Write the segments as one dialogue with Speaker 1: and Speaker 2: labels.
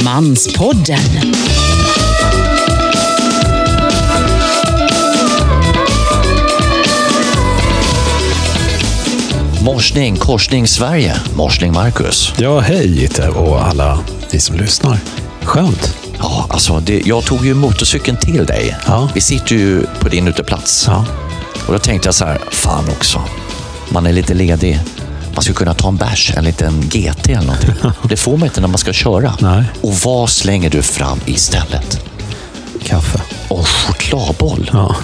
Speaker 1: Manspodden.
Speaker 2: Morsning, korsning Sverige. Morsning Marcus.
Speaker 3: Ja, hej Gitte och alla ni som lyssnar. Skönt.
Speaker 2: Ja, alltså, det, jag tog ju motorcykeln till dig.
Speaker 3: Ja.
Speaker 2: Vi sitter ju på din uteplats.
Speaker 3: Ja.
Speaker 2: Och då tänkte jag så här, fan också. Man är lite ledig. Man skulle kunna ta en bärs, en liten GT eller någonting. Det får man inte när man ska köra.
Speaker 3: Nej.
Speaker 2: Och vad slänger du fram istället?
Speaker 3: Kaffe.
Speaker 2: Och chokladboll.
Speaker 3: Ja.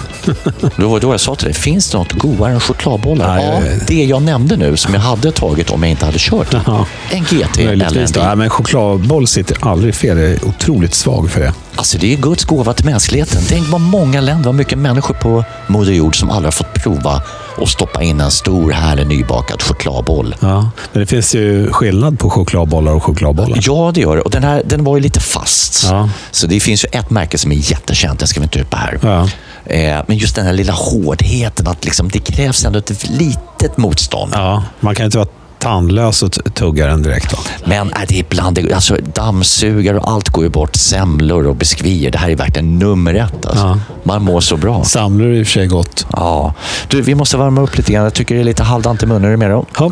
Speaker 2: Det var då jag sa till dig, finns det något godare än chokladbollar?
Speaker 3: Nej,
Speaker 2: ja,
Speaker 3: jag vet.
Speaker 2: det jag nämnde nu som jag hade tagit om jag inte hade kört.
Speaker 3: Jaha.
Speaker 2: En GT eller en
Speaker 3: Möjligtvis då.
Speaker 2: bil.
Speaker 3: Nej, men chokladboll sitter aldrig fel. Jag är otroligt svag för det.
Speaker 2: Alltså det är Guds gåva till mänskligheten. Tänk vad många länder, vad mycket människor på Moder Jord som aldrig har fått prova och stoppa in en stor härlig nybakad chokladboll.
Speaker 3: Ja. Men det finns ju skillnad på chokladbollar och chokladbollar.
Speaker 2: Ja, det gör det. Och den här den var ju lite fast.
Speaker 3: Ja.
Speaker 2: Så det finns ju ett märke som är jättekänt, den ska vi inte ut på här.
Speaker 3: Ja.
Speaker 2: Eh, men just den här lilla hårdheten, att liksom, det krävs ändå ett litet motstånd.
Speaker 3: Ja. Man kan inte vara tandlös och t- tugga den direkt. Va?
Speaker 2: Men äh, det är ibland, det- alltså, dammsugare och allt går ju bort. Semlor och biskvier, det här är verkligen nummer ett. Alltså.
Speaker 3: Ja.
Speaker 2: Man mår så bra.
Speaker 3: Samlar är i och för sig gott.
Speaker 2: Ja, du, vi måste värma upp lite grann. Jag tycker det är lite halvdant i munnen. Är du med då?
Speaker 3: Ja.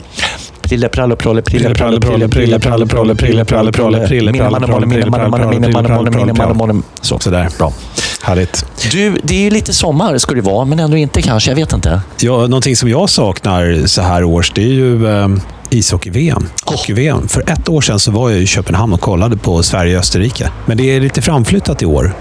Speaker 2: Prille, pralle, prolle, prille, pralle, prolle, prille, pralle, prolle, prille, pralle, prolle, prille, pralle, prolle, minne, manne, manne, minne, manne, manne, minne, manne, manne. Så.
Speaker 3: Sådär.
Speaker 2: Bra.
Speaker 3: Härligt.
Speaker 2: Du, det är ju lite sommar ska det vara, men ändå inte kanske. Jag vet inte.
Speaker 3: Ja, någonting som jag saknar så här års, det är ju eh, ishockey-VM. Hockey-VM. För ett år sedan så var jag i Köpenhamn och kollade på Sverige-Österrike. Men det är lite framflyttat i år.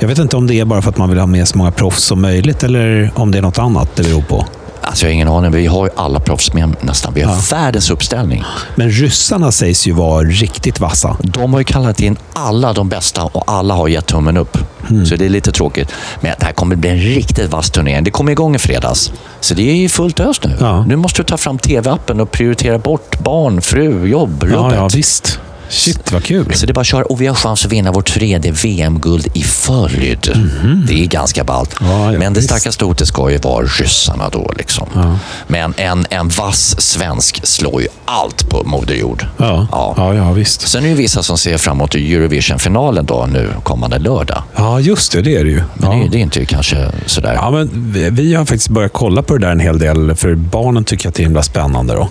Speaker 3: Jag vet inte om det är bara för att man vill ha med så många proffs som möjligt eller om det är något annat det beror på.
Speaker 2: Alltså, jag har ingen aning. Vi har ju alla proffs med nästan. Vi har världens uppställning.
Speaker 3: Men ryssarna sägs ju vara riktigt vassa.
Speaker 2: De har ju kallat in alla de bästa och alla har gett tummen upp.
Speaker 3: Mm.
Speaker 2: Så det är lite tråkigt. Men det här kommer bli en riktigt vass turnering. Det kommer igång i fredags. Så det är ju fullt ös nu.
Speaker 3: Ja.
Speaker 2: Nu måste du ta fram tv-appen och prioritera bort barn, fru, jobb,
Speaker 3: Ja,
Speaker 2: rubbet.
Speaker 3: ja, visst. Shit, vad kul.
Speaker 2: Så det är bara att köra. Och vi har chans att vinna vårt tredje VM-guld i följd. Det är ganska ballt.
Speaker 3: Mhm. Ja, ja,
Speaker 2: Men det
Speaker 3: visst.
Speaker 2: starkaste hotet ska ju vara ryssarna då. Liksom. Men en, en vass svensk slår ju allt på Moder Jord.
Speaker 3: Ja,
Speaker 2: Ja.
Speaker 3: ja, ja visst.
Speaker 2: Sen är det vissa som ser fram emot Eurovision-finalen då nu kommande lördag.
Speaker 3: Ja, just det. Det är det ju.
Speaker 2: Men
Speaker 3: Ja.
Speaker 2: det, är- det är inte kanske sådär.
Speaker 3: Ja, men vi- vi har faktiskt börjat kolla på det där en hel del, för barnen tycker att det är himla spännande. Då.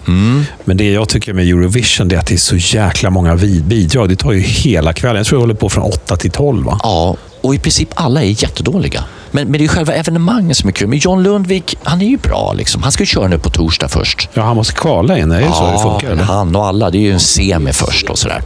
Speaker 3: Men det jag tycker med Eurovision det är att det är så jäkla många vi- bidrag. Det tar ju hela kvällen. Jag tror det håller på från 8 till 12. Va?
Speaker 2: Ja, och i princip alla är jättedåliga. Men, men det är ju själva evenemanget som är kul. Men John Lundvik, han är ju bra. Liksom. Han ska ju köra nu på torsdag först.
Speaker 3: Ja, han måste kvala in. Är det så det funkar? Eller? Mm.
Speaker 2: han och alla. Det är ju en semi först och sådär.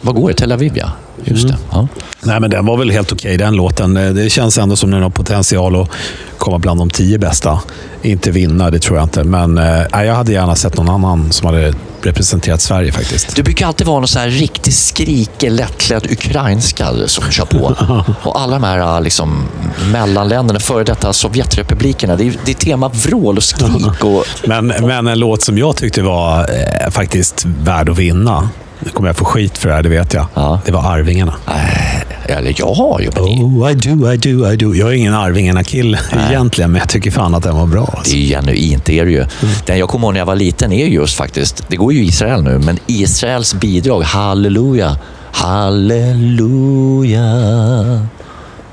Speaker 2: Vad går det? Tel Aviv, ja. Just det. Ja.
Speaker 3: Nej, men den var väl helt okej, den låten. Eh, Det känns ändå som den har potential att komma bland de tio bästa. Inte vinna, det tror jag inte. Men eh, nej, jag hade gärna sett någon annan som hade representerat Sverige faktiskt.
Speaker 2: Det brukar alltid vara någon sån här riktigt skrikig, lättklädd ukrainska som kör på. Och alla de här liksom, mellanländerna, före detta Sovjetrepublikerna. Det är, det är tema vrål och skrik. Och,
Speaker 3: Men, men en låt som jag tyckte var eh, faktiskt värd att vinna. Nu kommer jag få skit för det här, det vet jag.
Speaker 2: Ja.
Speaker 3: Det var Arvingarna.
Speaker 2: Äh, eller jag har ju. men det-
Speaker 3: Oh, I do, I do, I do. Jag är ingen Arvingarna-kille egentligen, men jag tycker fan att den var bra.
Speaker 2: Det är
Speaker 3: Alltså.
Speaker 2: ju genuint, det är det ju. Den jag kommer ihåg när jag var liten är just faktiskt, det går ju i Israel nu, men Israels bidrag, halleluja, halleluja,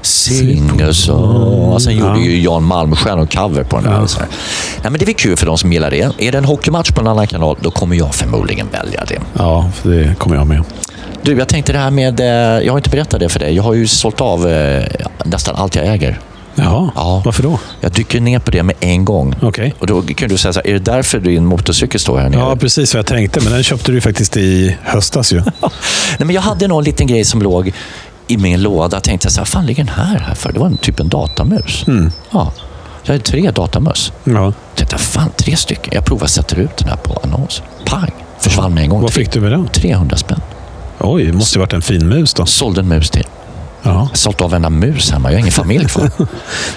Speaker 2: sing a song. Och sen gjorde ju Jan Malmstjärn en cover på den. Här, så här. Nej, men det är väl kul för de som gillar det. Är det en hockeymatch på en annan kanal, då kommer jag förmodligen välja det.
Speaker 3: Ja, för det kommer jag med.
Speaker 2: Du, jag tänkte det här med, eh, jag har inte berättat det för dig, jag har ju sålt av eh, nästan allt jag äger.
Speaker 3: Jaha,
Speaker 2: Ja.
Speaker 3: varför då?
Speaker 2: Jag dyker ner på det med en gång.
Speaker 3: Okej.
Speaker 2: Och då kan du säga så här, är det därför din motorcykel står här nere?
Speaker 3: Ja, precis vad jag tänkte, men den köpte du ju faktiskt i höstas ju.
Speaker 2: Nej, men jag hade någon liten grej som låg i min låda. Tänkte jag så här, fan ligger den här här för? Det var en typ en datamus.
Speaker 3: Mm.
Speaker 2: Ja, jag hade tre datamöss.
Speaker 3: Ja.
Speaker 2: Tänkte fan tre stycken. Jag provar sätter ut den här på annons. Pang! Försvann med en gång.
Speaker 3: Vad fick du med den?
Speaker 2: 300 spänn.
Speaker 3: Oj, det måste ju varit en fin mus då.
Speaker 2: Sålde en mus till.
Speaker 3: Ja.
Speaker 2: Jag sålt av varenda mus hemma. Jag har ingen familj kvar.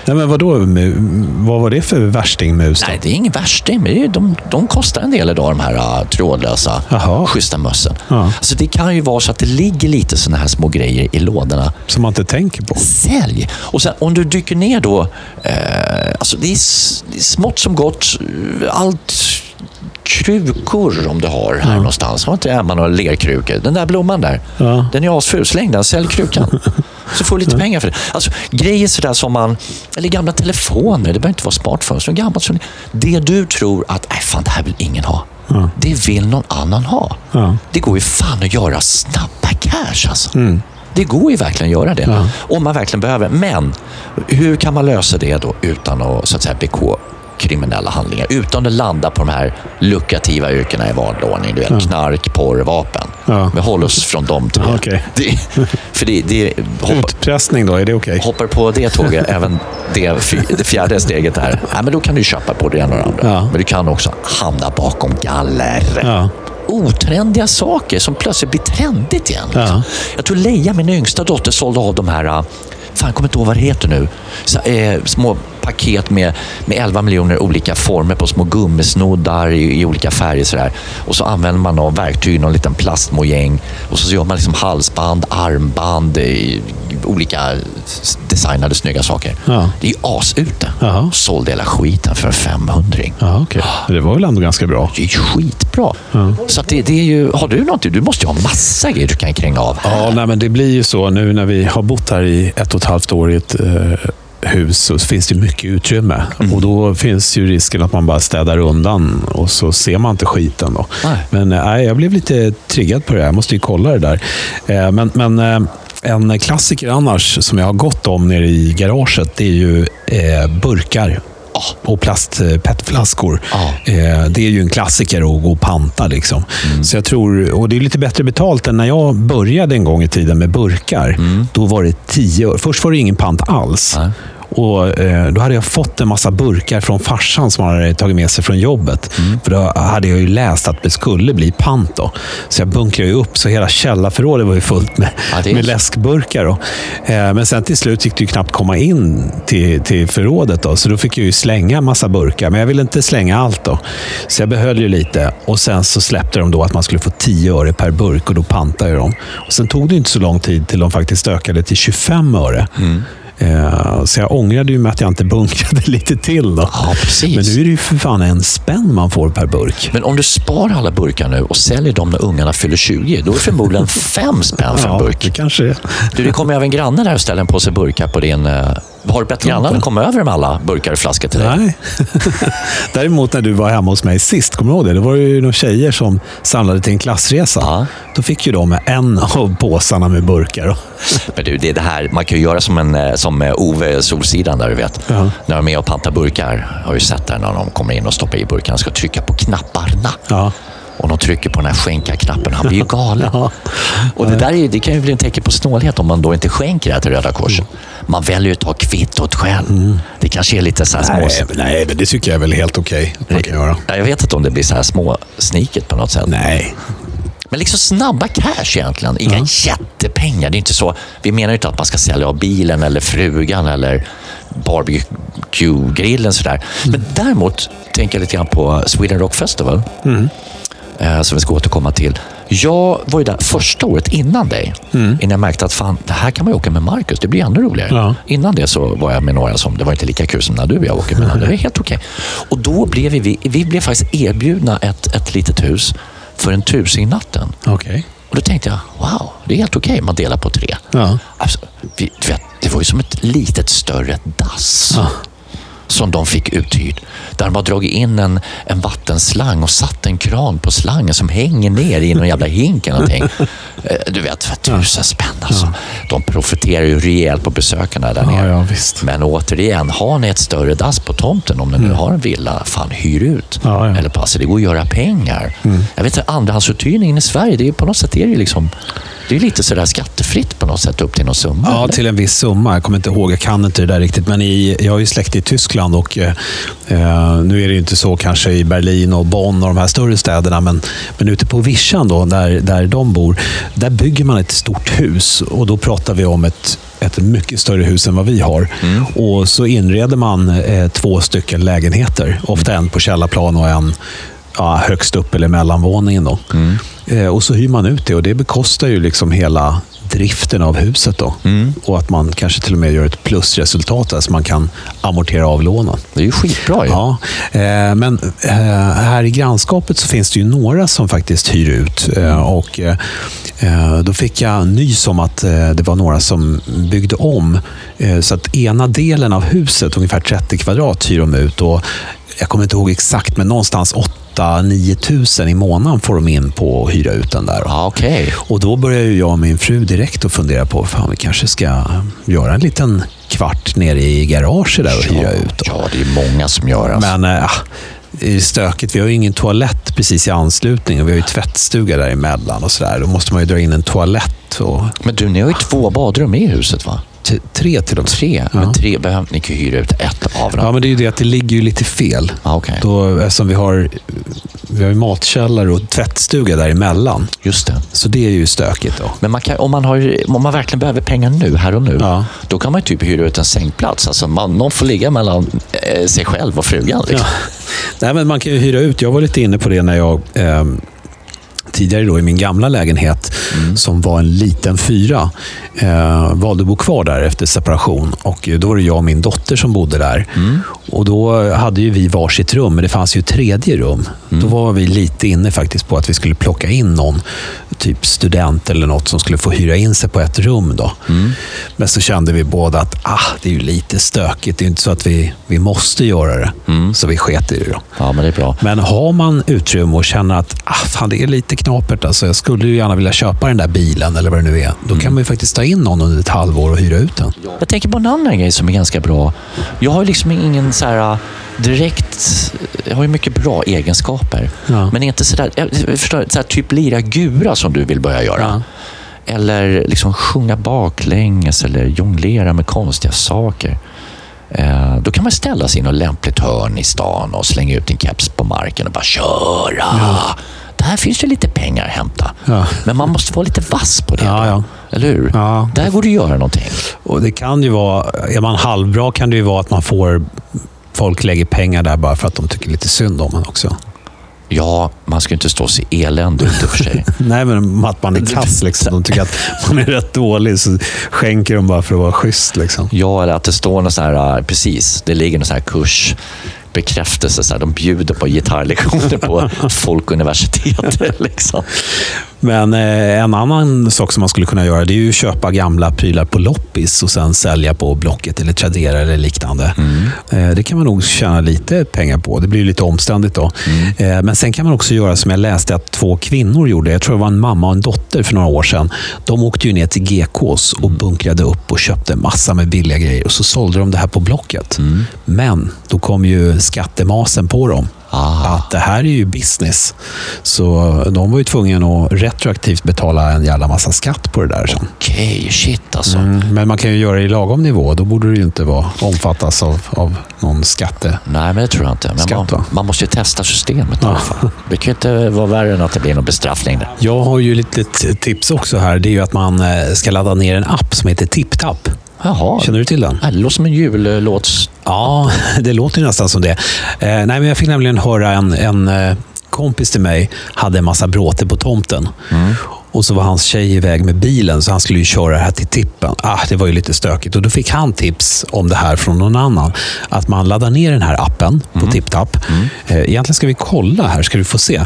Speaker 3: Nej, men vadå? mu- Vad var det för värstingmus? då?
Speaker 2: Nej, det är ingen värsting. Det är ju- De, de kostar en del idag, de här ah, trådlösa,
Speaker 3: Jaha.
Speaker 2: schyssta mössen.
Speaker 3: Ja.
Speaker 2: Så det kan ju vara så att det ligger lite sådana här små grejer i lådorna.
Speaker 3: Som man inte tänker på.
Speaker 2: Sälj! Och sen om du dyker ner då. Eh, alltså det är, s- det är smått som gott. eh, Allt krukor om du har här någonstans. Har inte Emma några lerkrukor? Den där blomman där.
Speaker 3: Ja.
Speaker 2: Den är asful. Släng den. Sälj krukan. Så får du lite pengar för det. Alltså, grejer sådär som man... Eller gamla telefoner. Det behöver inte vara smartphones. Men gammalt som, det du tror att nej, fan, det här vill ingen ha. Det vill någon annan ha.
Speaker 3: Ja.
Speaker 2: Det går ju fan att göra snabba cash alltså.
Speaker 3: Mm.
Speaker 2: Det går ju verkligen att göra det. Om man verkligen behöver. Men hur kan man lösa det då utan att, så att säga, begå kriminella handlingar? Utan att landa på de här lukrativa yrkena i vanlig ordning. Du vet, knark, porr, vapen.
Speaker 3: Ja.
Speaker 2: Men håll oss från dem tre.
Speaker 3: Okej.
Speaker 2: Det, för det, det hoppa,
Speaker 3: Utpressning då, är det okej?
Speaker 2: hoppar på det tåget, även det, fy- det fjärde steget här. Nej, men då kan du köpa på det ena och det andra.
Speaker 3: Ja.
Speaker 2: Men du kan också hamna bakom galler
Speaker 3: Ja.
Speaker 2: otrendiga saker som plötsligt blir trendigt igen.
Speaker 3: Ja.
Speaker 2: liksom. Jag tror Leia, min yngsta dotter, sålde av de här, äh, fan jag kommer inte ihåg vad det heter nu, så, eh, små paket med, med 11 miljoner olika former på små gummisnoddar i, i olika färger. Sådär. Och så använder man av verktyg, någon liten plastmojäng och så gör man liksom halsband, armband, eh, olika s- designade snygga saker.
Speaker 3: Ja.
Speaker 2: Det är ju asute.
Speaker 3: Jaha.
Speaker 2: Sålde hela skiten för en 500
Speaker 3: Ja, okej. Det var väl ändå ganska bra.
Speaker 2: det är ju skitbra. Så att det, det är ju, har du någonting? Du måste ju ha massa grejer du kan kränga av.
Speaker 3: Ja, nej, men det blir ju så nu när vi har bott här i ett och ett halvt år i ett eh, hus så finns det mycket utrymme. Och då finns ju risken att man bara städar undan och så ser man inte skiten. Då.
Speaker 2: Nej.
Speaker 3: Men eh, nej, jag blev lite triggad på det här. Jag måste ju kolla det där. Eh, men men eh, en klassiker annars som jag har gått om nere i garaget det är ju eh, burkar. Och plast, eh, petflaskor.
Speaker 2: Ja.
Speaker 3: Eh, det är ju en klassiker att gå och panta. Liksom.
Speaker 2: Mm.
Speaker 3: Så jag tror, och det är lite bättre betalt än när jag började en gång i tiden med burkar. Då var det 10 öre. Först var det ingen pant alls.
Speaker 2: Mm. Nej.
Speaker 3: Och eh, Då hade jag fått en massa burkar från farsan som han hade tagit med sig från jobbet.
Speaker 2: Mm.
Speaker 3: För Då hade jag ju läst att det skulle bli pant. Då. Så jag bunkrade ju upp så hela källarförrådet var ju fullt med,
Speaker 2: Ja, det är
Speaker 3: med
Speaker 2: så.
Speaker 3: läskburkar. Då. Eh, men sen till slut gick det ju knappt komma in till, till förrådet. Då, så då fick jag ju slänga massa burkar. Men jag ville inte slänga allt. då. Så jag behöll ju lite. Och Sen så släppte de då att man skulle få 10 öre per burk och då pantade jag dem. Och sen tog det inte så lång tid till de faktiskt ökade till 25 öre.
Speaker 2: Mm.
Speaker 3: Eh, så jag ångrade ju med att jag inte bunkrade lite till. Då.
Speaker 2: Ja, precis.
Speaker 3: Men nu är det ju för fan en spänn man får per burk.
Speaker 2: Men om du sparar alla burkar nu och säljer dem när ungarna fyller 20, då är det förmodligen fem spänn för en
Speaker 3: det
Speaker 2: burk.
Speaker 3: kanske är.
Speaker 2: Du, det kommer även grannar där och ställer en påse burkar på din... eh, Har du bett grannarna komma över med alla burkar och flaskor till dig?
Speaker 3: Nej. Däremot när du var hemma hos mig sist, kommer du ihåg det? Det var ju några tjejer som samlade till en klassresa.
Speaker 2: Ja.
Speaker 3: Då fick ju de en av påsarna med burkar.
Speaker 2: Men du, det är det här, man kan ju göra som, en, eh, som eh, Ove Solsidan där, du vet.
Speaker 3: Ja.
Speaker 2: När de är med och pantar burkar. Jag har ju sett där när de kommer in och stoppar i burkarna ska trycka på knapparna.
Speaker 3: Ja.
Speaker 2: Och de trycker på den här skänka-knappen. Han blir ju galen.
Speaker 3: Ja.
Speaker 2: Och det, där är, ju- det kan ju bli en tecken på snålhet om man då inte skänker det här till Röda Korset.
Speaker 3: Mm.
Speaker 2: Man väljer ju att ta kvittot själv. Det kanske är lite så här små...
Speaker 3: Nej, nej, men det tycker jag är väl helt okej att man kan göra.
Speaker 2: Ja, Jag vet inte om det blir så här små sniket på något sätt.
Speaker 3: Nej.
Speaker 2: Men liksom snabba cash egentligen. Inga
Speaker 3: Mm.
Speaker 2: jättepengar. Det är inte så. Vi menar ju inte att man ska sälja av bilen eller frugan eller barbecue-grillen sådär.
Speaker 3: Mm.
Speaker 2: Men däremot tänker jag lite grann på Sweden Rock Festival. eh, Som vi ska återkomma till. Jag var ju där första året innan dig. Innan jag märkte att fan, det här kan man ju åka med Marcus. Det blir ännu roligare.
Speaker 3: Mm. Ja.
Speaker 2: Innan det så var jag med några som, det var inte lika kul som när du och jag åker med varandra. Det är helt okej. Och då blev vi, vi blev faktiskt erbjudna ett, ett litet hus för en tusing natten.
Speaker 3: Okej.
Speaker 2: Och då tänkte jag, wow, det är helt okej. Man delar på tre.
Speaker 3: Ja.
Speaker 2: Alltså, vi, du vet, det var ju som ett litet större dass
Speaker 3: Ja.
Speaker 2: som de fick uthyrd. Där de har dragit in en, en vattenslang och satt en kran på slangen som hänger ner i någon jävla hink eller någonting. Eh, Du vet, för tusen spänn alltså. De profiterar ju rejält på besökarna där
Speaker 3: Ja,
Speaker 2: nere.
Speaker 3: ja, visst. Mm.
Speaker 2: Men återigen, har ni ett större dass på tomten, om ni nu har en villa, fan hyr ut.
Speaker 3: Ja, ja.
Speaker 2: Eller
Speaker 3: Mm.
Speaker 2: på, alltså, det går att göra pengar. Jag vet inte, andrahandsuthyrningen i Sverige, det är ju på något sätt är det ju liksom Det är lite sådär skattefritt på något sätt upp till någon summa.
Speaker 3: Ja,
Speaker 2: eller?
Speaker 3: till en viss summa. Jag kommer inte ihåg, jag kan inte det där riktigt. Men i, jag har ju släkt i Tyskland och eh, nu är det ju inte så kanske i Berlin och Bonn och de här större städerna. Men, men ute på vischan då, där, där de bor, där bygger man ett stort hus och då pratar vi om ett ett mycket större hus än vad vi har. Och så inreder man eh, två stycken lägenheter. Ofta en på källarplan och en ja, högst upp eller mellanvåningen. Då. Eh, och så hyr man ut det och det bekostar ju liksom hela driften av huset. Då. Och att man kanske till och med gör ett plusresultat där så man kan amortera av lånen.
Speaker 2: Det är ju skitbra ju.
Speaker 3: Ja, eh, men eh, här i grannskapet så finns det ju några som faktiskt hyr ut. Eh, och eh, eh, Då fick jag nys om att eh, det var några som byggde om. Eh, så att ena delen av huset, ungefär 30 kvadrat, hyr de ut. Och jag kommer inte ihåg exakt, men någonstans 8-9 tusen i månaden får de in på att hyra ut den där.
Speaker 2: Ja, okej.
Speaker 3: Och då började ju jag och min fru direkt att fundera på, fan vi kanske ska göra en liten kvart nere i garaget där och hyra ut. då.
Speaker 2: Ja, det är många som gör alltså.
Speaker 3: Men äh, det är stökigt. Vi har ju ingen toalett precis i anslutning och vi har ju tvättstuga däremellan och sådär. Då måste man ju dra in en toalett och
Speaker 2: Men du, ni har ju två badrum i huset va?
Speaker 3: t- tre till och med.
Speaker 2: Tre? Men tre behöver ni kan ju hyra ut ett av dem.
Speaker 3: Ja, men det är ju det att det ligger ju lite fel.
Speaker 2: Ja, okej.
Speaker 3: Då, eftersom vi har, vi har ju matkällare och tvättstuga däremellan.
Speaker 2: Just det.
Speaker 3: Så det är ju stökigt då.
Speaker 2: Men man kan, om, man har, om man verkligen behöver pengar nu, här och nu,
Speaker 3: Ja.
Speaker 2: då kan man ju typ hyra ut en sängplats. Alltså man, någon får ligga mellan eh, sig själv och frugan. Liksom.
Speaker 3: Nej, men man kan ju hyra ut. Jag var lite inne på det när jag ehm, tidigare då i min gamla lägenhet, som var en liten fyra, eh, valde att bo kvar där efter separation. Och eh, då var det jag och min dotter som bodde där. Och Då hade ju vi varsitt rum, men det fanns ju ett tredje rum. Då var vi lite inne faktiskt på att vi skulle plocka in någon, typ student eller något, som skulle få hyra in sig på ett rum. Då. Men så kände vi båda att ah, det är ju lite stökigt. Det är ju inte så att vi, vi måste göra det. Mm, Så vi sket i det. Då.
Speaker 2: Mm. Ja, men det är bra.
Speaker 3: Men har man utrymme och känner att ah, fan, det är lite knapert, alltså, jag skulle ju gärna vilja köpa den där bilen eller vad det nu är. Då kan man ju faktiskt ta in någon under ett halvår och hyra ut den.
Speaker 2: Jag tänker på en annan grej som är ganska bra. Jag har ju liksom ingen så här äh, direkt... Jag har ju mycket bra egenskaper.
Speaker 3: Ja.
Speaker 2: Men inte sådär... Jag jag förstår, så här, typ lira gura som du vill börja göra. Eller liksom sjunga baklänges eller jonglera med konstiga saker. Eh, då kan man ställa sig i något lämpligt hörn i stan och slänga ut en keps på marken och bara köra. Där finns det lite pengar att hämta.
Speaker 3: Ja.
Speaker 2: Men man måste vara lite vass på det.
Speaker 3: Ja,
Speaker 2: då.
Speaker 3: ja.
Speaker 2: Eller hur?
Speaker 3: Ja.
Speaker 2: Där går det att göra någonting.
Speaker 3: Och det kan ju vara, är man halvbra kan det ju vara att man får Folk lägger pengar där bara för att de tycker lite synd om en också.
Speaker 2: Ja, man ska ju inte stå och se elände ut i och för sig.
Speaker 3: Nej, men att man är kass. Liksom. De tycker att man är rätt dålig, så skänker de bara för att vara schysst. Liksom.
Speaker 2: Ja, eller att det står någon sån här, äh, precis, det ligger någon sån här kurs bekräftelse, så här, de bjuder på gitarrlektioner på Folkuniversitetet. Liksom.
Speaker 3: Men eh, en annan sak som man skulle kunna göra det är ju att köpa gamla prylar på loppis och sen sälja på Blocket eller Tradera eller liknande. Eh, det kan man nog tjäna lite pengar på. Det blir ju lite omständigt då. Eh, men sen kan man också göra som jag läste att två kvinnor gjorde. Jag tror det var en mamma och en dotter för några år sedan. De åkte ju ner till GKs och bunkrade upp och köpte massa med billiga grejer och så sålde de det här på Blocket. Men då kom ju skattemasen på dem
Speaker 2: Ah,
Speaker 3: att det här är ju business. Så de var ju tvungna att retroaktivt betala en jävla massa skatt på det där sen. Mm,
Speaker 2: Okej, shit alltså.
Speaker 3: Men man kan ju göra det i lagom nivå. Då borde det ju inte vara, omfattas av, av någon skatte...
Speaker 2: Nej, men det tror jag inte. Men
Speaker 3: Skatt,
Speaker 2: man,
Speaker 3: va?
Speaker 2: man måste ju testa systemet i alla fall. Det kan ju inte vara värre än att det blir någon bestraffning. Där.
Speaker 3: Jag har ju lite t- tips också här. Det är ju att man eh, ska ladda ner en app som heter TipTap.
Speaker 2: Jaha,
Speaker 3: Känner du till den?
Speaker 2: det låter som en jullåts...
Speaker 3: Ja, det låter ju nästan som det. Eh, nej, men jag fick nämligen höra en, en eh, kompis till mig hade en massa bråte på tomten. Och så var hans tjej iväg med bilen, så han skulle ju köra det här till tippen. Ah, det var ju lite stökigt och då fick han tips om det här från någon annan. Att man laddar ner den här appen på TipTap. Eh, egentligen ska vi kolla här, ska du få se.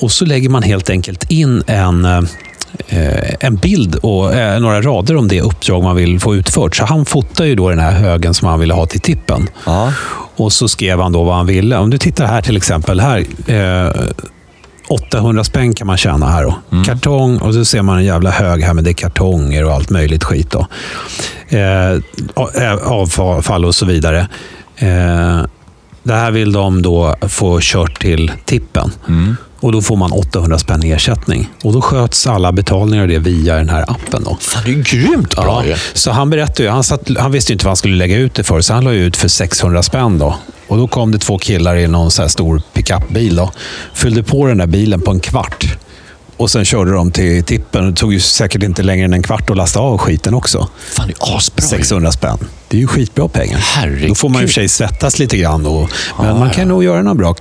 Speaker 3: Och så lägger man helt enkelt in en eh, eh, en bild och eh, några rader om det uppdrag man vill få utfört. Så han fotar ju då den här högen som han ville ha till tippen.
Speaker 2: Ja.
Speaker 3: Och så skrev han då vad han ville. Om du tittar här till exempel. Här, eh, 800 spänn kan man tjäna här. Då. Kartong och så ser man en jävla hög här med det är kartonger och allt möjligt skit. Då. Eh, a- avfall och så vidare. Eh, Det här vill de då få kört till tippen. Och Då får man 800 spänn i ersättning. Och Då sköts alla betalningar och det via den här appen. Då.
Speaker 2: Fan, det är ju grymt bra ju.
Speaker 3: Så han berättade ju, han, satt, han visste ju inte vad han skulle lägga ut det för, så han la ju ut för 600 spänn. då. Och Då kom det två killar i någon så här stor pickupbil. Då. Fyllde på den där bilen på en kvart. Och Sen körde de till tippen. Det tog ju säkert inte längre än en kvart att lasta av skiten också.
Speaker 2: Fan, det är asbra ju.
Speaker 3: 600 spänn. Det är ju skitbra pengar.
Speaker 2: Herregud.
Speaker 3: Då får man i och för sig svettas lite grann. Då, men man kan nog göra några bra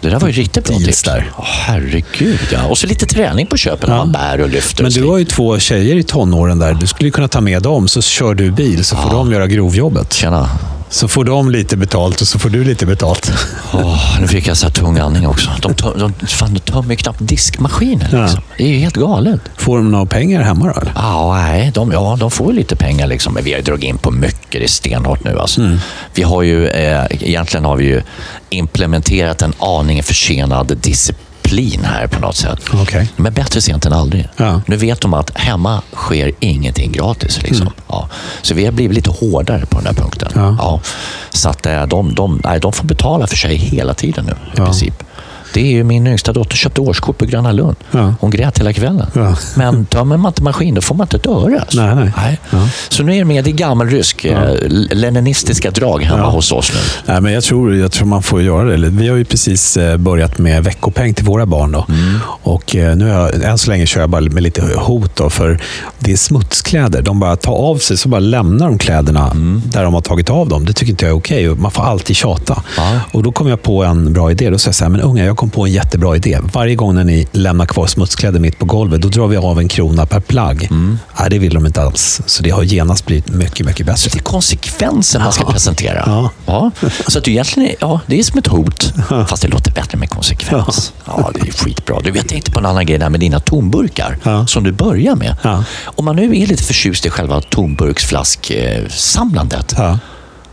Speaker 2: Det där var ju riktigt bra
Speaker 3: Deals
Speaker 2: tips.
Speaker 3: där.
Speaker 2: Ja, herregud ja. Och så lite träning på köpet när
Speaker 3: Ja.
Speaker 2: man bär och lyfter. och
Speaker 3: Men du
Speaker 2: sliter.
Speaker 3: har ju två tjejer i tonåren där. Du skulle ju kunna ta med dem, så kör du bil, så får de göra grovjobbet.
Speaker 2: Tjena.
Speaker 3: Så får de lite betalt och så får du lite betalt.
Speaker 2: Åh, nu fick jag så här tung andning också. De, töm, de, fan, de tömmer ju knappt diskmaskinen.
Speaker 3: Ja.
Speaker 2: Liksom. Det är ju helt galet.
Speaker 3: Får de några pengar hemma då? eller?
Speaker 2: Ah, nej, de, ja, de får ju lite pengar. Liksom. Men vi har ju dragit in på mycket. Det är stenhårt nu. Alltså.
Speaker 3: Mm.
Speaker 2: Vi har ju, eh, egentligen har vi ju implementerat en aning försenad disciplin här på något sätt.
Speaker 3: Okej.
Speaker 2: Men bättre sent än aldrig.
Speaker 3: Ja.
Speaker 2: Nu vet de att hemma sker ingenting gratis. Liksom. Ja. Så vi har blivit lite hårdare på den här punkten.
Speaker 3: Mm. Ja.
Speaker 2: Så att eh, de, de, nej, de får betala för sig hela tiden nu i
Speaker 3: Ja.
Speaker 2: princip. Det är ju min yngsta dotter köpte årskort på Gröna Lund.
Speaker 3: Ja.
Speaker 2: Hon grät hela kvällen.
Speaker 3: Ja.
Speaker 2: Men tömmer man inte maskin, då får man inte ett öre. Alltså.
Speaker 3: Nej, nej. Ja.
Speaker 2: Så nu är det med i gammalrysk, ja. leninistiska drag hemma hos oss nu.
Speaker 3: Nej, men jag tror, jag tror man får göra det. Vi har ju precis eh, börjat med veckopeng till våra barn. Då.
Speaker 2: Mm.
Speaker 3: Och eh, nu har jag, än så länge kör jag bara med lite hot, då, för det är smutskläder. De bara tar av sig, så bara lämnar de kläderna
Speaker 2: Mm.
Speaker 3: där de har tagit av dem. Det tycker inte jag är okej. och Man får alltid tjata.
Speaker 2: Ja.
Speaker 3: Och Då kom jag på en bra idé. Då sa jag så här, men unga, jag kom på en jättebra idé. Varje gång när ni lämnar kvar smutskläder mitt på golvet, då drar vi av en krona per plagg.
Speaker 2: Mm.
Speaker 3: Nej, det vill de inte alls. Så det har genast blivit mycket, mycket bättre.
Speaker 2: Det är konsekvensen man ska presentera.
Speaker 3: Ja.
Speaker 2: Så att du egentligen är, ja, det är som ett hot, fast det låter bättre med konsekvens. Ja. det är skitbra. Du, jag tänkte på en annan grej där med dina tomburkar
Speaker 3: Ja.
Speaker 2: som du börjar med.
Speaker 3: Ja.
Speaker 2: Om man nu är lite förtjust i själva tomburksflasksamlandet,
Speaker 3: Ja.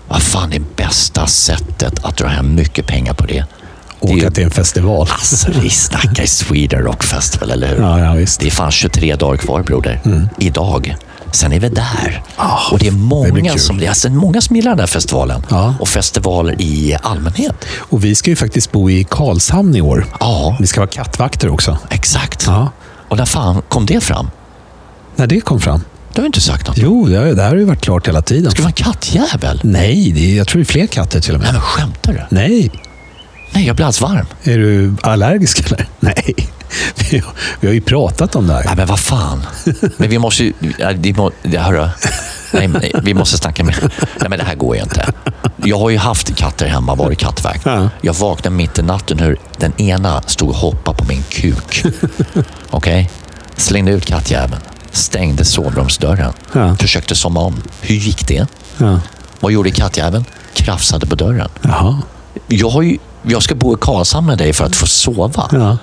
Speaker 2: vad fan är bästa sättet att dra hem mycket pengar på det? Det är ju
Speaker 3: Åka till en festival.
Speaker 2: Alltså, vi snackar ju Sweden Rock Festival, eller hur?
Speaker 3: Ja, ja, visst.
Speaker 2: Det är fan 23 dagar kvar, broder. Idag. Sen är vi där. och det är
Speaker 3: Ah, blir
Speaker 2: många,
Speaker 3: kul.
Speaker 2: som, det är alltså många som gillar den här festivalen.
Speaker 3: Ja.
Speaker 2: Och festivaler i allmänhet.
Speaker 3: Och vi ska ju faktiskt bo i Karlshamn i år.
Speaker 2: Ja,
Speaker 3: Vi ska vara kattvakter också.
Speaker 2: exakt.
Speaker 3: Ja.
Speaker 2: Och när fan kom det fram?
Speaker 3: När det kom fram?
Speaker 2: Du har ju inte sagt något.
Speaker 3: Jo, det, har- det här har ju varit klart hela tiden.
Speaker 2: Ska det vara en kattjävel?
Speaker 3: Nej, det är, jag tror det är fler katter till och
Speaker 2: Nej, men
Speaker 3: med.
Speaker 2: skämtar du?
Speaker 3: Nej,
Speaker 2: Nej, jag blir alldeles varm.
Speaker 3: är du allergisk eller? Nej, vi, har- vi har ju pratat om det här.
Speaker 2: Nej, men vad fan. Men vi måste ju... ja, det må, det, hörru. Nej, nej, vi måste snacka med... Nej, men det här går ju inte. Jag har ju haft katter hemma, varit kattvakt.
Speaker 3: Ja.
Speaker 2: Jag vaknade mitt i natten hur den ena stod och hoppade på min kuk. Okej? Slängde ut kattjäveln. Stängde sovrumsdörren.
Speaker 3: Ja.
Speaker 2: Försökte somna om. Hur gick det?
Speaker 3: Ja.
Speaker 2: Vad gjorde kattjäveln? Krafsade på dörren.
Speaker 3: Jaha.
Speaker 2: Jag, har ju, jag ska bo i Karlshamn med dig för att få sova.
Speaker 3: Ja.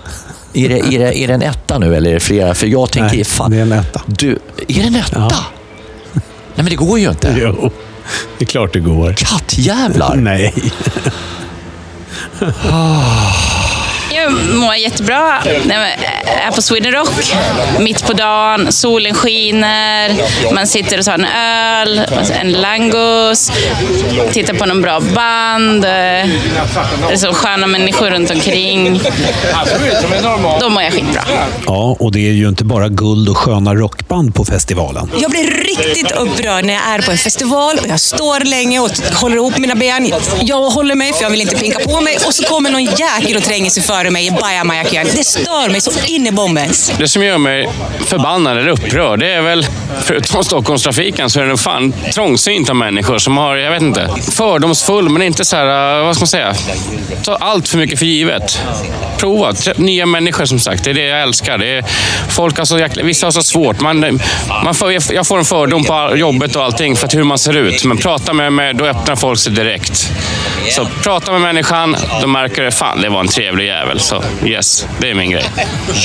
Speaker 2: Är det, är, det, är det en etta nu eller är det flera? För jag tänker,
Speaker 3: Nej,
Speaker 2: fan,
Speaker 3: det är en etta.
Speaker 2: Du, är det en etta?
Speaker 3: Ja.
Speaker 2: Nej men det går ju inte.
Speaker 3: Jo, det är klart det går.
Speaker 2: Kattjävlar!
Speaker 3: Nej.
Speaker 1: Jag mår jättebra. Nej, men, äh, är på Sweden Rock, mitt på dagen, solen skiner, man sitter och tar en öl, en langus, tittar på någon bra band, eh, det är så sköna människor runt omkring. Då mår jag skitbra.
Speaker 3: Ja, och det är ju inte bara guld och sköna rockband på festivalen.
Speaker 4: Jag blir riktigt upprörd när jag är på en festival och jag står länge och håller ihop mina ben. Jag håller mig för jag vill inte pinka på mig och så kommer någon jäkel och tränger sig före mig i bajamajakön. Det stör mig så in i bombens.
Speaker 5: Det som gör mig förbannad eller upprörd, det är väl, förutom Stockholmstrafiken, så är det fan trångsynta människor som har, jag vet inte, fördomsfull, men inte så här, eh, vad ska man säga, tar allt för mycket för givet. Prova, trä- nya människor som sagt, det är det jag älskar. Det är, folk har så jäkla, vissa har så svårt. Man, man får, jag får en fördom på jobbet och allting för att hur man ser ut, men prata med mig, då öppnar folk sig direkt. Så prata med människan, då märker du, fan det var en trevlig jävel. Så yes, det är min grej.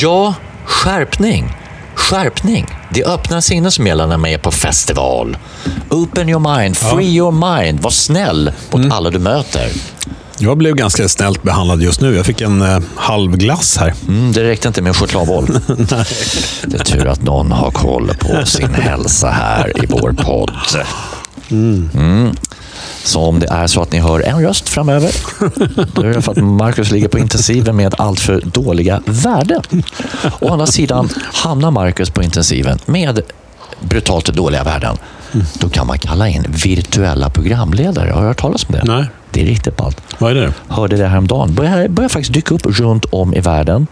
Speaker 2: Ja, skärpning. Skärpning. Det öppnar sinnen som gäller när man är på festival. Open your mind, free your mind. Var snäll mot alla du möter.
Speaker 3: Jag blev ganska snällt behandlad just nu. Jag fick en eh, halv glass här.
Speaker 2: Mm, det räckte inte med en chokladboll. det är tur att någon har koll på sin hälsa här i vår podd. Mm. Så om det är så att ni hör en röst framöver, då är det för att Marcus ligger på intensiven med alltför dåliga värden. Å andra sidan, hamnar Marcus på intensiven med brutalt dåliga värden, då kan man kalla in virtuella programledare. Har du hört talas om det?
Speaker 3: Nej.
Speaker 2: Det är riktigt ballt
Speaker 3: Vad är det?
Speaker 2: hörde det häromdagen. Börjar, börjar faktiskt dyka upp runt om i världen.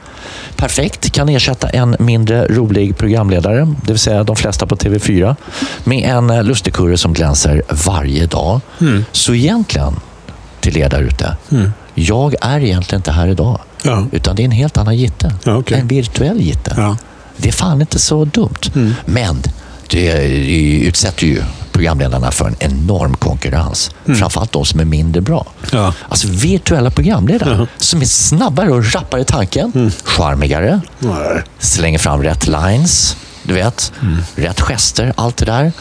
Speaker 2: Perfekt, kan ersätta en mindre rolig programledare, det vill säga de flesta på TV4, med en eh, lustigkurre som glänser varje dag.
Speaker 3: Mm.
Speaker 2: Så egentligen, till er där ute, jag är egentligen inte här idag.
Speaker 3: Ja.
Speaker 2: Utan det är en helt annan jitte.
Speaker 3: Ja, okej.
Speaker 2: En virtuell jitte.
Speaker 3: Ja.
Speaker 2: Det är fan inte så dumt. Men det, det utsätter ju programledarna för en enorm konkurrens. Framförallt de som är mindre bra.
Speaker 3: Ja.
Speaker 2: Alltså virtuella programledare som är snabbare och rappare i tanken, charmigare, slänger fram rätt lines, du vet, rätt gester, allt det där.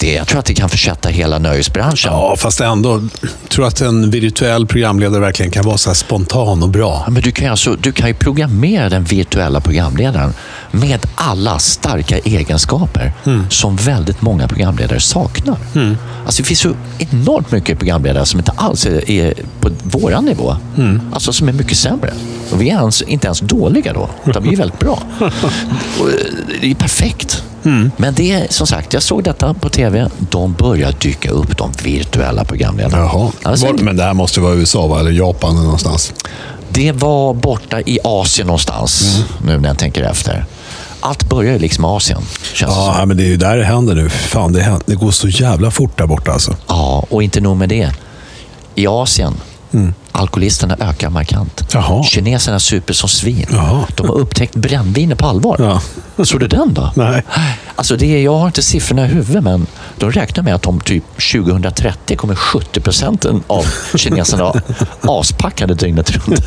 Speaker 2: Det, jag tror att det kan försätta hela nöjesbranschen.
Speaker 3: Ja, fast ändå. Tror att en virtuell programledare verkligen kan vara så här spontan och bra?
Speaker 2: Ja, Men du, kan ju alltså, du kan ju programmera den virtuella programledaren med alla starka egenskaper
Speaker 6: Mm.
Speaker 2: som väldigt många programledare saknar. Alltså, det finns så enormt mycket programledare som inte alls är, är på våran nivå.
Speaker 6: Mm.
Speaker 2: Alltså som är mycket sämre. Och vi är ens, inte ens dåliga då, utan vi är väldigt bra. Och, eh, det är perfekt.
Speaker 6: Mm.
Speaker 2: Men det är som sagt, jag såg detta på tv. De börjar dyka upp, de virtuella programledarna.
Speaker 6: Jaha.
Speaker 2: Alltså,
Speaker 6: Var, men det här måste vara USA va? eller Japan eller någonstans.
Speaker 2: det var borta i Asien någonstans,
Speaker 3: Mm.
Speaker 2: nu när jag tänker efter. Allt börjar ju liksom i Asien, känns det som.
Speaker 3: Ja, men det är ju där det händer nu. Fan, det, händer, det går så jävla fort där borta alltså.
Speaker 2: Ja, och inte nog med det. I Asien, alkoholisterna ökar markant.
Speaker 3: Mm. Jaha.
Speaker 2: Kineserna super som svin.
Speaker 3: Jaha.
Speaker 2: De har upptäckt brännvinet på allvar.
Speaker 3: Ja.
Speaker 2: Såg du den då?
Speaker 3: Nej.
Speaker 2: Alltså det, är- jag har inte siffrorna i huvudet, men de räknar med att om typ 2030 kommer 70 procenten av kineserna ha aspackade dygnet runt.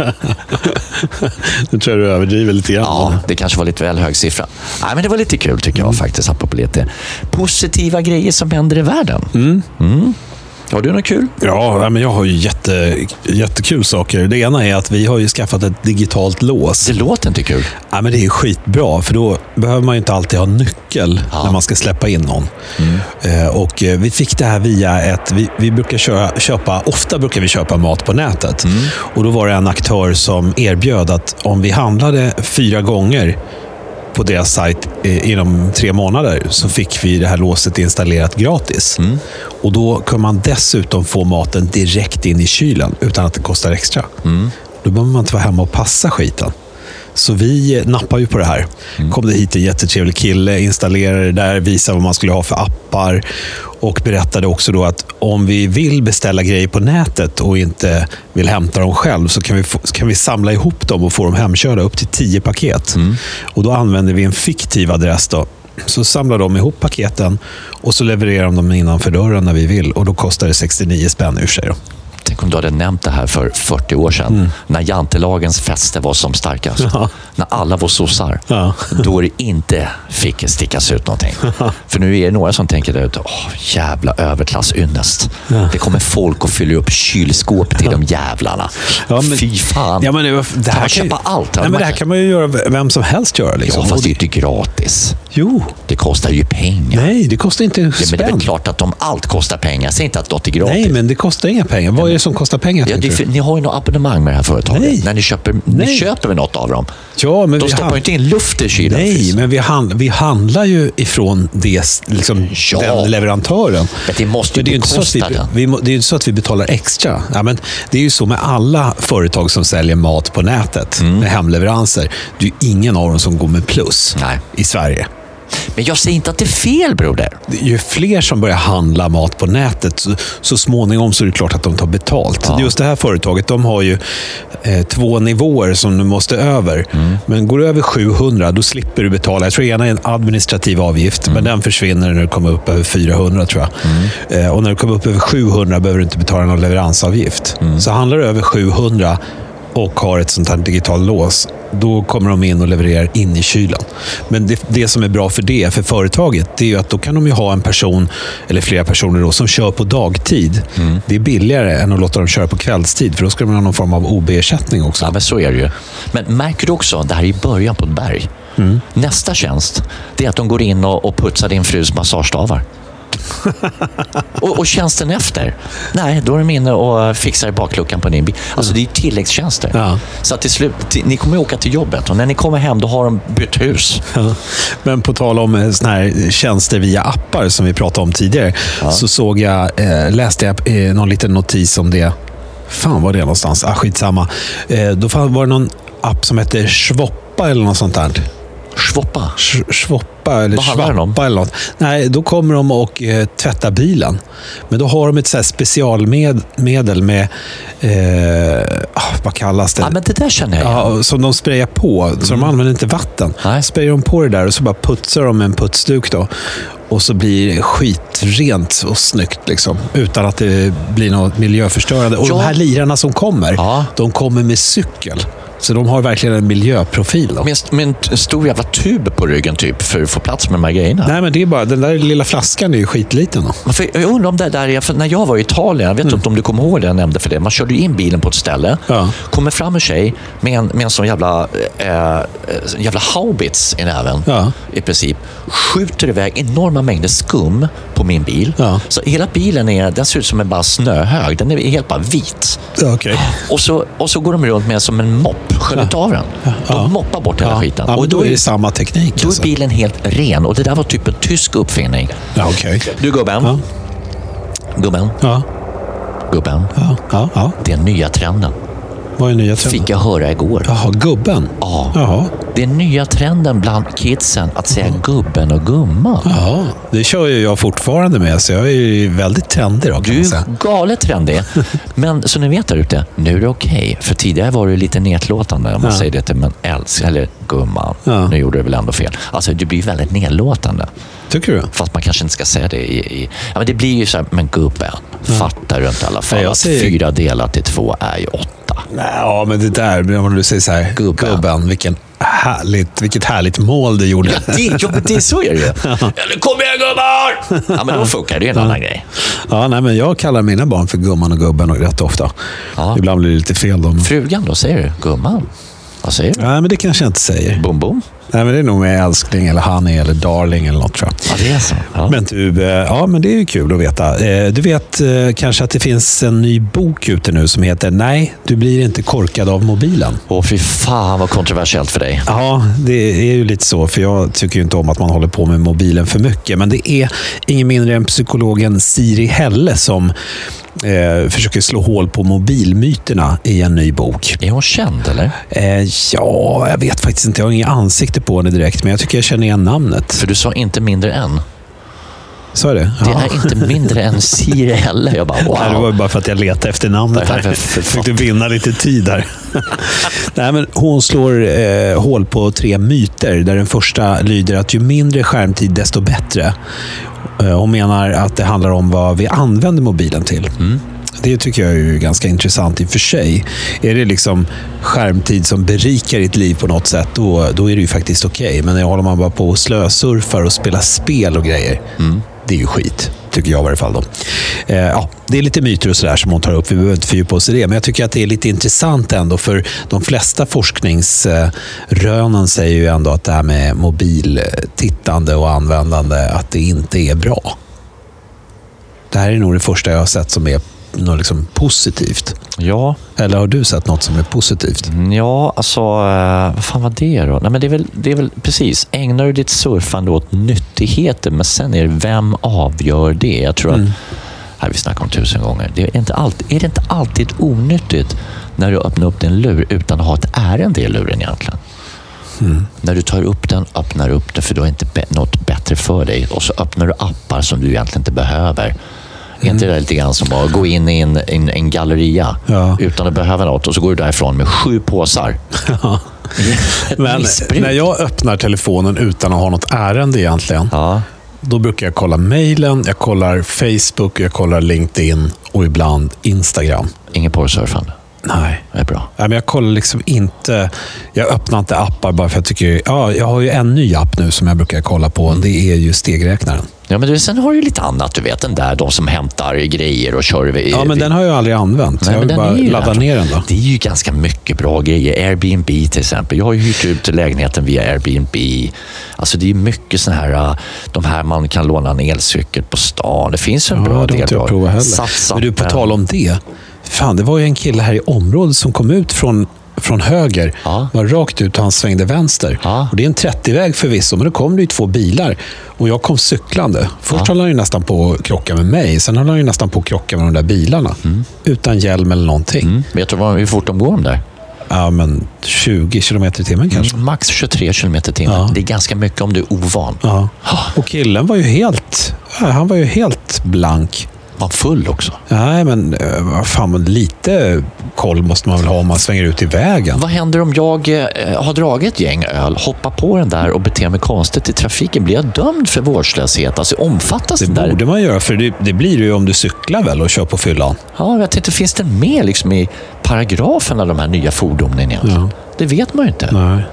Speaker 3: Nu tror jag du överdriver lite grann.
Speaker 2: Ja, det kanske var lite väl hög siffra. Nej, men det var lite kul tycker jag faktiskt, apropå lite positiva grejer som händer i världen. Mm. Har du något kul?
Speaker 3: Ja, nej, men jag har ju jätte, jättekul saker. Det ena är att vi har ju skaffat ett digitalt lås.
Speaker 2: Det låter inte kul.
Speaker 3: Ja, men det är ju skitbra, för då behöver man ju inte alltid ha nyckel
Speaker 2: Ja.
Speaker 3: när man ska släppa in någon. Eh, och eh, Vi fick det här via ett... Vi, vi brukar köra, köpa, ofta brukar vi köpa mat på nätet. Och Då var det en aktör som erbjöd att om vi handlade fyra gånger på deras sajt eh, inom tre månader så fick vi det här låset installerat gratis. Och Då kan man dessutom få maten direkt in i kylen utan att det kostar extra. Då behöver man inte vara hemma och passa skiten. Så vi eh, nappar ju på det här. Kom det hit en jättetrevlig kille, installerade det där, visade vad man skulle ha för appar och berättade också då att om vi vill beställa grejer på nätet och inte vill hämta dem själv så kan vi, få, kan vi samla ihop dem och få dem hemkörda upp till tio paket. Och Då använder vi en fiktiv adress. då. Så samlar de ihop paketen och så levererar de dem innanför dörren när vi vill och då kostar det 69 spänn ur sig. Då.
Speaker 2: Tänk om du hade nämnt det här för 40 år sedan, när jantelagens fester var som starkast. När alla var sossar.
Speaker 3: Ja.
Speaker 2: Då det inte fick stickas ut någonting. För nu är det några som tänker där ute, åh, jävla överklassynnest. Det kommer folk och fyller upp kylskåp till de jävlarna.
Speaker 3: Ja, men-
Speaker 2: Fy fan.
Speaker 3: Ja, men det, var- det
Speaker 2: Kan
Speaker 3: här
Speaker 2: man
Speaker 3: ju-
Speaker 2: köpa allt?
Speaker 3: Nej, men det här kan man ju göra v- vem som helst göra. Liksom.
Speaker 2: Ja,
Speaker 3: Och
Speaker 2: fast det är
Speaker 3: det-
Speaker 2: ju inte gratis.
Speaker 3: Jo,
Speaker 2: Det kostar ju pengar.
Speaker 3: nej, det kostar inte en
Speaker 2: Ja, men det är
Speaker 3: spänn.
Speaker 2: väl klart att om allt kostar pengar, säg inte att något är gratis.
Speaker 3: Nej, men det kostar inga pengar. Vad är det som kostar pengar?
Speaker 2: Ja, det är
Speaker 3: tänkte
Speaker 2: för,
Speaker 3: du?
Speaker 2: ni har ju något abonnemang med det här företaget.
Speaker 3: Nej.
Speaker 2: När ni köper,
Speaker 3: Nej.
Speaker 2: ni köper väl något av dem?
Speaker 3: Ja, men
Speaker 2: De
Speaker 3: vi
Speaker 2: stoppar
Speaker 3: hand-
Speaker 2: ju inte in luft i kylen.
Speaker 3: Nej,
Speaker 2: men...
Speaker 3: men vi, hand, vi handlar ju ifrån det, s- liksom,
Speaker 2: Ja.
Speaker 3: den leverantören.
Speaker 2: Men det måste ju
Speaker 3: Men det är inte så att vi,
Speaker 2: bekosta den.
Speaker 3: vi, må- Det är ju inte så att vi betalar extra. Ja, men det är ju så med alla företag som säljer mat på nätet,
Speaker 2: Mm.
Speaker 3: med hemleveranser. Det är ju ingen av dem som går med plus
Speaker 2: Nej.
Speaker 3: i Sverige.
Speaker 2: jag säger inte att det är fel broder.
Speaker 3: Det är ju fler som börjar handla mat på nätet, så, så småningom så är det klart att de tar betalt. Just det här företaget, de har ju eh, två nivåer som du måste över. Men går du över 700, då slipper du betala. Jag tror ena är en administrativ avgift, men den försvinner när du kommer upp över 400 tror jag. Eh, och när du kommer upp över 700 behöver du inte betala någon leveransavgift. Så handlar du över 700 och har ett sånt här digitalt lås, då kommer de in och levererar in i kylen. Men det, det som är bra för det, för företaget, det är ju att då kan de ju ha en person, eller flera personer då, som kör på dagtid. Det är billigare än att låta dem köra på kvällstid, för då ska man ha någon form av OB-ersättning också.
Speaker 2: Ja, men så är det ju. Men märker du också, det här är i början på ett
Speaker 3: Mm.
Speaker 2: berg. Nästa tjänst, det är att de går in och, och putsar din frus massagestavar. Och, och tjänsten efter? Nej, då är de inne och fixar bakluckan på din bil. Alltså det är ju tilläggstjänster.
Speaker 3: Ja.
Speaker 2: Så att till slut, till, ni kommer ju åka till jobbet och när ni kommer hem då har de bytt hus.
Speaker 3: Ja. Men på tal om eh, såna här tjänster via appar som vi pratade om tidigare, så såg jag, eh, läste jag eh, någon liten notis om det. Fan var det någonstans? Ah, skitsamma. Eh, då fan- var det någon app som hette Schwoppa eller något sånt där.
Speaker 2: Schwoppa.
Speaker 3: Sch- Schwoppa eller
Speaker 2: Vad handlar den om?
Speaker 3: Schwappa eller något. Nej, då kommer de och eh, tvättar bilen. Men då har de ett så här specialmedel med, eh, ah, vad kallas det?
Speaker 2: Ja, men Mm. det där känner jag igen.
Speaker 3: Ja, och som de sprayar på, så de använder inte vatten.
Speaker 2: Nej.
Speaker 3: Sprayar de på det där och så bara putsar de med en putsduk då. Och så blir det skitrent och snyggt liksom. Utan att det blir något miljöförstörande. Och
Speaker 2: Ja.
Speaker 3: de här lirarna som kommer,
Speaker 2: Ja.
Speaker 3: de kommer med cykel. Så de har verkligen en miljöprofil. Då.
Speaker 2: Med, en st- med en t- stor jävla tub på ryggen typ för att få plats med de här grejerna.
Speaker 3: Nej, men det är bara, den där lilla flaskan är ju skitliten. Då.
Speaker 2: Men För, jag undrar om det där är, för när jag var i Italien, jag vet inte om du kommer ihåg det jag nämnde för det. Man körde ju in bilen på ett ställe,
Speaker 3: Mm. Ja.
Speaker 2: kommer fram en tjej med en, med en sån jävla, eh, eh, sån jävla haubits i näven
Speaker 3: Ja.
Speaker 2: i princip. Skjuter iväg enorma mängder skum på min bil.
Speaker 3: Ja.
Speaker 2: Så hela bilen är, den ser ut som en bara snöhög. Den är helt bara vit.
Speaker 3: Okay.
Speaker 2: Och så, och så går de runt med som en mopp, sköljer av den.
Speaker 3: Ja.
Speaker 2: De moppar bort hela
Speaker 3: Ja.
Speaker 2: skiten.
Speaker 3: Ja,
Speaker 2: och
Speaker 3: men då är det samma teknik.
Speaker 2: då
Speaker 3: alltså.
Speaker 2: är bilen helt ren och det där var typ en tysk uppfinning.
Speaker 3: Ja, okej.
Speaker 2: Du gubben,
Speaker 3: Ja.
Speaker 2: gubben,
Speaker 3: Ja,
Speaker 2: gubben.
Speaker 3: ja, ja, ja.
Speaker 2: Den nya trenden
Speaker 3: Vad är nya trenden?
Speaker 2: fick jag höra igår.
Speaker 3: Jaha, gubben?
Speaker 2: Ja.
Speaker 3: Jaha.
Speaker 2: Den nya trenden bland kidsen att säga gubben och gumman.
Speaker 3: Mm. Ja, det kör ju jag fortfarande med, så jag är ju väldigt trendig då, kan
Speaker 2: Du
Speaker 3: man
Speaker 2: är
Speaker 3: säga.
Speaker 2: galet trendig. Men så ni vet där ute, nu är det okej. För tidigare var det lite nedlåtande om man
Speaker 3: Ja.
Speaker 2: säger det till men älsk eller gumman.
Speaker 3: Ja.
Speaker 2: Nu gjorde du väl ändå fel. Alltså det blir väldigt nedlåtande.
Speaker 3: Tycker du?
Speaker 2: Fast man kanske inte ska säga det i... i ja, men det blir ju så här, men gubben, fattar du inte i alla fall
Speaker 3: Nej, jag
Speaker 2: att
Speaker 3: säger-
Speaker 2: fyra delat till två är ju åtta?
Speaker 3: Nej, ja, men det där, om du säger så här,
Speaker 2: Gubben.
Speaker 3: vilken härligt, vilket härligt mål du gjorde.
Speaker 2: Det, ja, men det är så är det ju. Eller kom igen gubbar! Ja, men då funkar det ju en annan grej.
Speaker 3: Ja, nej, men jag kallar mina barn för gumman och gubben och rätt ofta.
Speaker 2: Ja.
Speaker 3: Ibland blir det lite fel då. Men...
Speaker 2: Frugan då, säger du? Gumman? Vad säger du?
Speaker 3: Nej, men det kanske jag inte säger.
Speaker 2: Bom, bom?
Speaker 3: Nej, men det är nog med älskling eller honey eller darling eller något tror jag.
Speaker 2: Ja, det är så. Ja.
Speaker 3: Men du, eh, ja, men det är ju kul att veta. Eh, Du vet eh, kanske att det finns en ny bok ute nu som heter Nej, du blir inte korkad av mobilen.
Speaker 2: Åh, fy fan vad kontroversiellt för dig.
Speaker 3: Ja, det är ju lite så, för jag tycker ju inte om att man håller på med mobilen för mycket. Men det är ingen mindre än psykologen Siri Helle som eh, försöker slå hål på mobilmyterna i en ny bok.
Speaker 2: Är hon känd eller?
Speaker 3: Eh, ja, jag vet faktiskt inte. Jag har inget ansikte på henne direkt, men jag tycker jag känner igen namnet.
Speaker 2: För du sa inte mindre än.
Speaker 3: Sa jag det?
Speaker 2: Det
Speaker 3: Ja.
Speaker 2: är inte mindre än Siri heller. Jag bara
Speaker 3: Nej, det var
Speaker 2: wow.
Speaker 3: ju bara för att jag letade efter namnet.
Speaker 2: Nej,
Speaker 3: Här.
Speaker 2: men för fan.
Speaker 3: Försökte vinna lite tid här. Nej, men hon slår eh, hål på tre myter, där den första lyder att ju mindre skärmtid, desto bättre. Eh, hon menar att det handlar om vad vi använder mobilen till.
Speaker 2: Mm.
Speaker 3: Det tycker jag är ju ganska intressant i och för sig. Är det liksom skärmtid som berikar ditt liv på något sätt, då, då är det ju faktiskt okej. Men håller man bara på och slösurfar och spelar spel och grejer,
Speaker 2: Mm.
Speaker 3: det är ju skit. Tycker jag i varje fall. Då. Eh, ja, det är lite myter och sådär som hon tar upp. Vi behöver inte fördjupa oss i det. Men jag tycker att det är lite intressant ändå. För de flesta forskningsrönen säger ju ändå att det här med mobiltittande och användande, att det inte är bra. Det här är nog det första jag har sett som är något liksom positivt.
Speaker 2: Ja,
Speaker 3: Eller har du sett något som är positivt?
Speaker 2: ja, alltså, eh, vad fan var det då? Nej, men det, är väl, det är väl precis, ägnar du ditt surfande åt nyttigheter, men sen är det vem avgör det? Jag tror att, här vi snackat om tusen gånger, det är, inte alltid, är det inte alltid onyttigt när du öppnar upp din lur utan att ha ett ärende i luren egentligen?
Speaker 3: Mm.
Speaker 2: När du tar upp den, öppnar upp den för du har inte be- något bättre för dig. Och så öppnar du appar som du egentligen inte behöver. Är inte det
Speaker 3: Mm.
Speaker 2: där lite grann som att gå in i en, en, en galleria
Speaker 3: Ja.
Speaker 2: utan att behöva något och så går du därifrån med sju påsar? Ett
Speaker 3: Men
Speaker 2: missbruk.
Speaker 3: när jag öppnar telefonen utan att ha något ärende egentligen,
Speaker 2: Ja.
Speaker 3: Då brukar jag kolla mejlen, jag kollar Facebook, jag kollar LinkedIn och ibland Instagram.
Speaker 2: Ingen porrsurfande.
Speaker 3: Nej.
Speaker 2: Det är bra.
Speaker 3: Nej, men jag kollar liksom inte... Jag öppnar inte appar bara för jag tycker... Ja, jag har ju en ny app nu som jag brukar kolla på. Det är ju stegräknaren.
Speaker 2: Ja, men du, sen har du ju lite annat, du vet. Den där, de som hämtar grejer och kör... vid-
Speaker 3: Ja, men den har jag aldrig använt.
Speaker 2: Nej, men
Speaker 3: jag vill
Speaker 2: den
Speaker 3: bara
Speaker 2: är ju
Speaker 3: ladda
Speaker 2: där.
Speaker 3: ner den då.
Speaker 2: Det är ju ganska mycket bra grejer. Airbnb till exempel. Jag har ju hyrt ut lägenheten via Airbnb. Alltså det är mycket sådana här, äh, de här man kan låna en elcykel på stan. Det finns ju en
Speaker 3: Ja,
Speaker 2: bra
Speaker 3: det har
Speaker 2: del.
Speaker 3: inte jag
Speaker 2: bra.
Speaker 3: provat heller.
Speaker 2: Satsa
Speaker 3: Men du, på tal om det. Fan, det var ju en kille här i området som kom ut från, från höger.
Speaker 2: Ja.
Speaker 3: Var rakt ut och han svängde vänster.
Speaker 2: Ja.
Speaker 3: Och det är en 30-väg förvisso, men då kom det ju två bilar. Och jag kom cyklande. Först höll han ju nästan på att krocka med mig. Sen höll han ju nästan på att krocka med de där bilarna. Utan hjälm eller någonting.
Speaker 2: Mm. Vet du vad, hur fort de går de där?
Speaker 3: Ja, men 20 kilometer i timmen kanske.
Speaker 2: Max 23 kilometer i timmen.
Speaker 3: Mm. Ja.
Speaker 2: Det är ganska mycket om du är ovan. Ah,
Speaker 3: Ja. Och killen var ju helt, ja, han var ju helt blank.
Speaker 2: Var full också.
Speaker 3: Nej, men eh, vad fan, men lite koll måste man väl ha om man svänger ut i vägen.
Speaker 2: Vad händer om jag eh, har dragit ett gäng öl, hoppar på den där och beter mig konstigt i trafiken? Blir jag dömd för vårdslöshet? Alltså omfattas
Speaker 3: Det
Speaker 2: den där?
Speaker 3: borde man göra, för det, det blir det ju om du cyklar väl och kör på fyllan.
Speaker 2: Ja, jag tänkte, finns den med liksom i paragraferna, de här nya fordonen egentligen? Det vet man ju inte.
Speaker 3: Nej.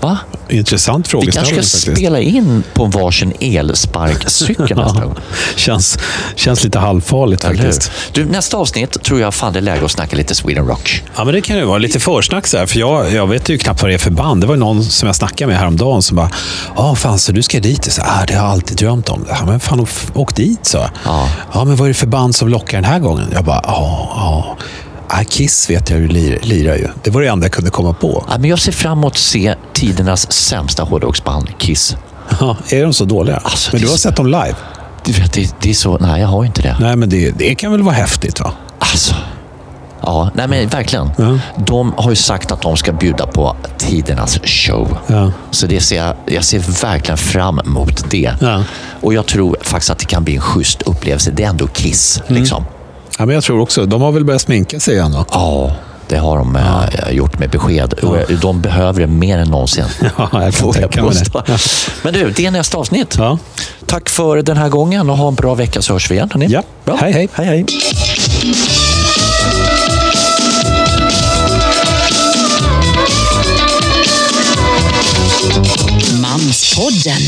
Speaker 2: Va?
Speaker 3: Intressant
Speaker 2: Vi kanske
Speaker 3: frågeställning
Speaker 2: ska
Speaker 3: faktiskt.
Speaker 2: spela in på varsin elsparkcykel nästa gång.
Speaker 3: Känns, känns lite halvfarligt
Speaker 2: Eller hur?
Speaker 3: faktiskt.
Speaker 2: Du, nästa avsnitt tror jag fan det är läge att snacka lite Sweden Rock.
Speaker 3: Ja, men det kan ju vara lite försnack så här, för jag, jag vet ju knappt vad det är för band. Det var ju någon som jag snackade med häromdagen som bara, ja fan så du ska dit? Så, ah, det har jag alltid drömt om. Ja, men fan, åk- åk dit, så.
Speaker 2: Ja.
Speaker 3: ja, men vad är det för band som lockar den här gången? Jag bara, ja, ja. Ah, Kiss vet jag hur lir, lirar ju. Det var det enda jag kunde komma på.
Speaker 2: Ja, men jag ser fram emot att se tidernas sämsta hårdrocksband, Kiss.
Speaker 3: Ja, är de så dåliga?
Speaker 2: Alltså,
Speaker 3: men
Speaker 2: det
Speaker 3: du
Speaker 2: är
Speaker 3: har
Speaker 2: så-
Speaker 3: sett dem live?
Speaker 2: Du vet, det, det är så... Nej, jag har ju inte det.
Speaker 3: Nej, men det, det kan väl vara häftigt va?
Speaker 2: Alltså. Ja, nej men verkligen. De har ju sagt att de ska bjuda på tidernas show.
Speaker 3: Ja.
Speaker 2: Så det ser jag, jag ser verkligen fram emot det.
Speaker 3: Ja.
Speaker 2: Och jag tror faktiskt att det kan bli en schysst upplevelse. Det är ändå Kiss.
Speaker 3: Mm.
Speaker 2: Liksom.
Speaker 3: Ja, men jag tror också, de har väl börjat sminka sig igen då?
Speaker 2: Ja, det har de eh, gjort med besked. Och eh, de behöver det mer än någonsin.
Speaker 3: Ja, jag kan
Speaker 2: Får jag
Speaker 3: tänka mig det.
Speaker 2: påstå. Men du, det är nästa avsnitt.
Speaker 3: Ja.
Speaker 2: Tack för den här gången och ha en bra vecka så hörs vi igen. hörni.
Speaker 3: Ja.
Speaker 2: Bra.
Speaker 3: Hej, hej.
Speaker 2: hej, hej.
Speaker 7: Manspodden.